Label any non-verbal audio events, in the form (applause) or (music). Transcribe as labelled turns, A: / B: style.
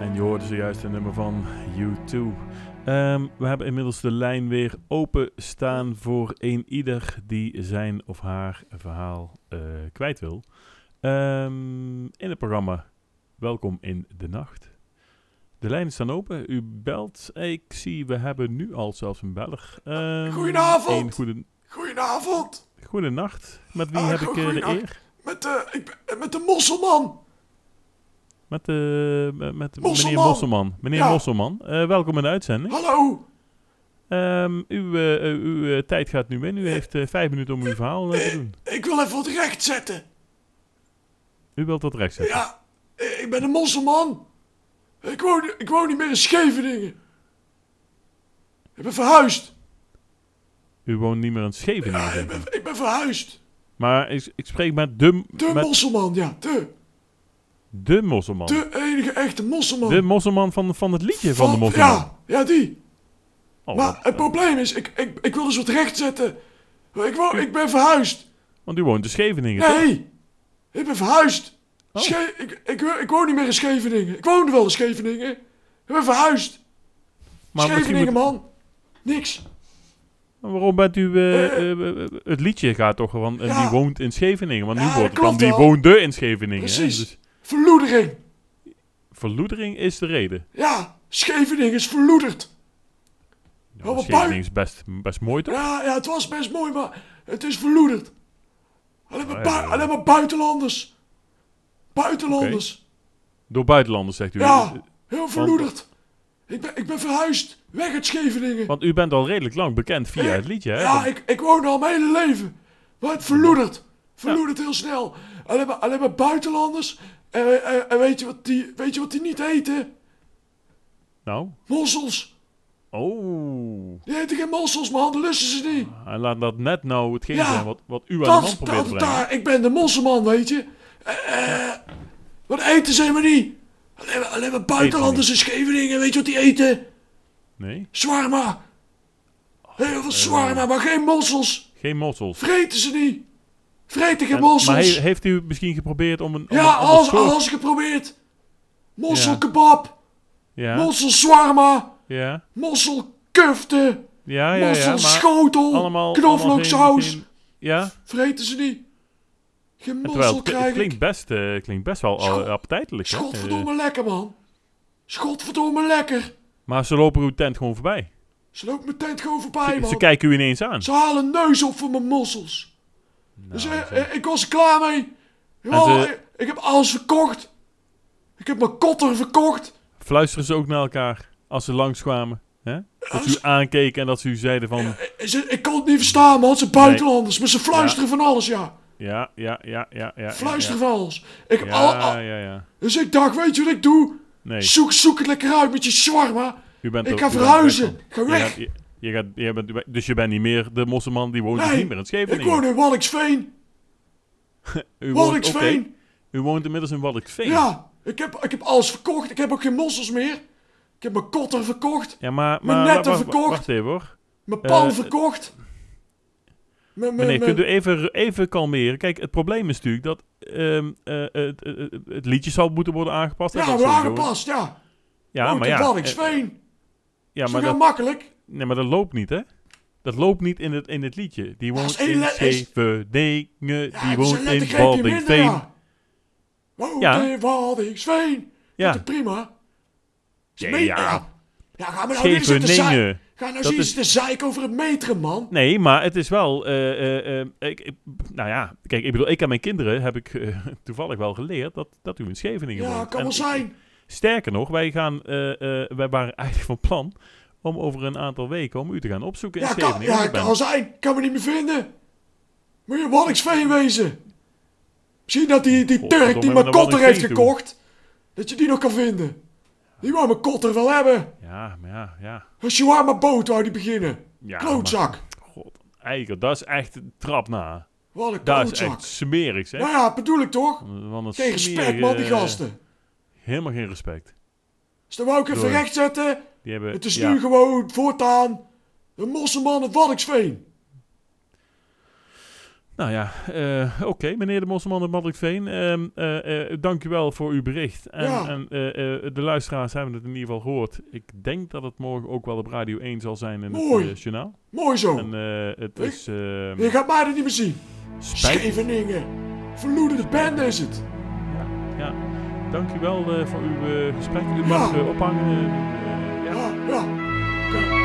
A: En je hoorde zojuist een nummer van U2. Ehm, we hebben inmiddels de lijn weer open staan voor een ieder die zijn of haar verhaal eh, kwijt wil. Ehm, in het programma Welkom in de Nacht. De lijnen staan open. U belt. Ik zie, we hebben nu al zelfs een beller. Ehm,
B: Goedenavond.
A: een goede,
B: Goedenavond,
A: goede nacht. Met wie
B: Ah,
A: heb ik
B: goe-
A: eh, de
B: goeienacht.
A: eer?
B: met de, ik ben- eh, met de mosselman.
A: Met, eh, met, met meneer
B: Mosselman.
A: Mosselman. Meneer
B: Ja.
A: Mosselman, eh, welkom in de uitzending.
B: Hallo,
A: Ehm, uw eh, eh, uw eh, tijd gaat nu in. U heeft eh, vijf minuten om uw verhaal eh, te doen.
B: ik wil even wat recht zetten.
A: U wilt dat recht zetten.
B: Ja, eh, ik ben een mosselman. Ik woon, ik woon niet meer in Scheveningen. Ik ben verhuisd.
A: U woont niet meer in Scheveningen.
B: Ja, ik
A: denk ik.
B: ben, ik ben verhuisd.
A: Maar ik, ik spreek met de,
B: De
A: met
B: mosselman, ja, de,
A: de mosselman. De,
B: de enige echte mosselman.
A: mosselman van, van het liedje van, de mosselman.
B: Ja, ja, die.
A: Oh,
B: Maar
A: wat-
B: het probleem is, ik, ik, ik wil dus wat recht zetten. Ik, woon, ik ben verhuisd.
A: want u woont in Scheveningen. toch?
B: Nee, ik ben verhuisd.
A: Oh.
B: Sche- ik, ik, ik woon niet meer in Scheveningen. Ik woonde wel in Scheveningen. Ik ben verhuisd.
A: maar misschien
B: Scheveningen,
A: moet-
B: man. Niks.
A: waarom bent u... eh, eh, eh, het liedje gaat toch van eh,
B: Ja.
A: die woont in Scheveningen. Want
B: Ja,
A: nu
B: dat
A: wordt het dan
B: klopt
A: die
B: wel.
A: woonde in Scheveningen. hè?
B: Precies.
A: Dus
B: Verloedering.
A: verloedering is de reden.
B: Ja, Scheveningen is verloederd.
A: Ja,
B: wat
A: Scheveningen
B: puin.
A: is best, best mooi toch?
B: Ja, ja, het was best mooi, maar het is verloederd. Alleen maar,
A: Ah,
B: bui-
A: ja.
B: alleen maar buitenlanders. Buitenlanders.
A: Door buitenlanders zegt u.
B: Ja, heel verloederd. Ik ben, ik ben verhuisd. Weg uit Scheveningen.
A: Want u bent al redelijk lang bekend via
B: Eh,
A: het liedje, hè?
B: Ja, ik, ik woon al mijn hele leven. Maar het verloedert. Verloedert heel snel. Alleen maar, alleen maar buitenlanders. En, en, en weet, je wat die, weet je wat die niet eten?
A: Nou,
B: Mossels.
A: oh.
B: Die eten geen mossels, man. Dat lusten ze niet.
A: Hij laat dat net nou hetgeen
B: Ja,
A: zijn wat, wat u aan de man
B: Dat,
A: probeert te
B: dat,
A: brengen.
B: daar. Ik ben de mosselman, weet je. Eh, eh, wat eten ze maar niet? Alleen maar, alleen maar buitenlanders in Scheveningen. Weet je wat die eten?
A: Nee,
B: Zwarma. Heel
A: Eh,
B: veel zwarma, maar geen mossels.
A: geen mossels.
B: Vreten ze niet. Vreten geen
A: En-
B: mossels.
A: maar he- heeft u misschien geprobeerd om een... om
B: Ja,
A: een ander
B: alles,
A: soort-
B: alles geprobeerd. Mosselkebab,
A: Ja,
B: mosselswarma,
A: ja,
B: mosselkufte,
A: ja, ja, ja, maar
B: mosselschotel,
A: allemaal... allemaal
B: knoflooksaus.
A: geen- geen- ja,
B: Vreten ze niet. Geen
A: terwijl
B: mossel
A: het, het
B: krijg
A: klinkt
B: ik.
A: best, eh, klinkt best wel
B: Schot-
A: eh, appetijtelijk. hè? Eh,
B: Schotverdomme lekker, man. Schotverdomme lekker.
A: maar ze lopen uw tent gewoon voorbij. Dus
B: Ze loopt mijn tent gewoon voorbij,
A: Ze
B: man.
A: kijken u ineens aan.
B: Ze halen neus op voor mijn mossels.
A: Nou,
B: dus eh, eh, ik was er klaar mee. Ja,
A: En ze-
B: ik, ik heb alles verkocht. Ik heb mijn kotter verkocht.
A: Fluisteren ze ook naar elkaar als ze langskwamen? Hè? Dat ze
B: ze-
A: u aankeken en dat ze u zeiden van...
B: Ze- ik kon het niet verstaan, man. Het zijn buitenlanders. Maar ze fluisteren van alles, ja.
A: Ja, ja, ja, ja, ja.
B: Fluisteren
A: ja,
B: van alles. Ik heb al,
A: Ja, ja,
B: al-
A: ja, ja.
B: dus ik dacht, weet je wat ik doe?
A: Nee,
B: Zoek, zoek het lekker uit met je shawarma.
A: u bent
B: Ik
A: er-
B: ga
A: u bent
B: verhuizen.
A: weg
B: Ik ga
A: van- Je gaat,
B: weg.
A: je, je gaat, je bent, dus je bent niet meer de mosselman, die woont dus
B: Nee,
A: niet meer in
B: Ik
A: Scheveningen.
B: woon in
A: u,
B: Walliksveen.
A: woont, oké,
B: Walliksveen.
A: u woont inmiddels in Walliksveen.
B: Ja, ik heb, ik heb alles verkocht. Ik heb ook geen mossels meer. Ik heb mijn kotter verkocht.
A: Ja, maar,
B: Mijn
A: maar
B: netten
A: wacht,
B: verkocht.
A: wacht even hoor.
B: Mijn pan
A: Eh,
B: verkocht. Mijn, mijn,
A: Meneer,
B: mijn-
A: kunt u even, even kalmeren? Kijk, het probleem is natuurlijk dat ehm, eh, het, het- het- het liedje zal moeten worden aangepast. hè,
B: Ja,
A: dat
B: we
A: sowieso.
B: aangepast, ja.
A: Ja,
B: Woon
A: maar
B: in
A: ja. eh,
B: Walliksveen.
A: ja,
B: Is
A: maar
B: toch heel
A: dat,
B: makkelijk?
A: nee, maar dat loopt niet, hè? Dat loopt niet in het, in het liedje. Die woont
B: is één
A: in
B: le- is-
A: Scheveningen,
B: Ja,
A: die
B: het is
A: woont
B: een
A: in
B: lettergreepje minder,
A: Walliksveen.
B: ja. Woont
A: Ja.
B: in Waldingsveen.
A: Ja.
B: Dat is prima. Is
A: Ja,
B: mee-
A: ja.
B: Ja, ga maar nou niet zitten zeiken.
A: Scheveningen.
B: Ga nou
A: Dat
B: zien
A: is-
B: zitten zeiken over het metrum, man.
A: Nee, maar het is wel. eh, eh, eh, ik, ik- nou ja, kijk, ik bedoel, ik aan mijn kinderen heb ik eh, (laughs) toevallig wel geleerd dat, dat u in Scheveningen
B: Ja,
A: woont.
B: kan
A: En
B: wel zijn.
A: Sterker nog, wij, gaan, eh, eh, wij waren eigenlijk van plan om over een aantal weken om u te gaan opzoeken in
B: Ja, kan,
A: Scheveningen.
B: ja,
A: Ik ben-
B: kan wel zijn. Kan me niet meer vinden. Moet je Wallingsveen wezen. Misschien dat die, die
A: Godverdomme,
B: Turk die
A: maar
B: mijn
A: naar
B: kotter heeft
A: Waddinxveen toe.
B: gekocht, dat je die nog kan vinden. Die wou mijn kotter wel hebben.
A: ja, maar ja, ja.
B: Een shawarma boot wou die beginnen.
A: Ja,
B: klootzak.
A: God, eikel, dat is echt een trap na.
B: Wat een
A: Dat is
B: klootzak.
A: echt smerigs, hè? eh,
B: Nou ja, bedoel ik toch?
A: Want dat
B: Geen respect, man, die gasten.
A: Helemaal geen respect.
B: Dus dan wou ik even
A: Door.
B: recht zetten.
A: Die hebben,
B: Het is
A: ja.
B: nu gewoon voortaan de mosselman het Waddingsveen.
A: Nou ja, eh, oké, meneer de Mosselman en Patrick Veen. ehm, eh, eh, dank u wel voor uw bericht. En,
B: Ja.
A: en eh, eh, de luisteraars hebben het in ieder geval gehoord. Ik denk dat het morgen ook wel op Radio 1 zal zijn in
B: Mooi. Oh.
A: het eh, journaal.
B: Mooi zo.
A: En eh, het
B: Ik-
A: is... ehm,
B: Je gaat mij er niet meer zien.
A: spijt-
B: Scheveningen. Verloederde bende is het.
A: Ja, dank u wel eh, voor uw eh, gesprek. U mag
B: Ja.
A: eh, ophangen. eh, eh, ja.
B: Ja, ja. Ja.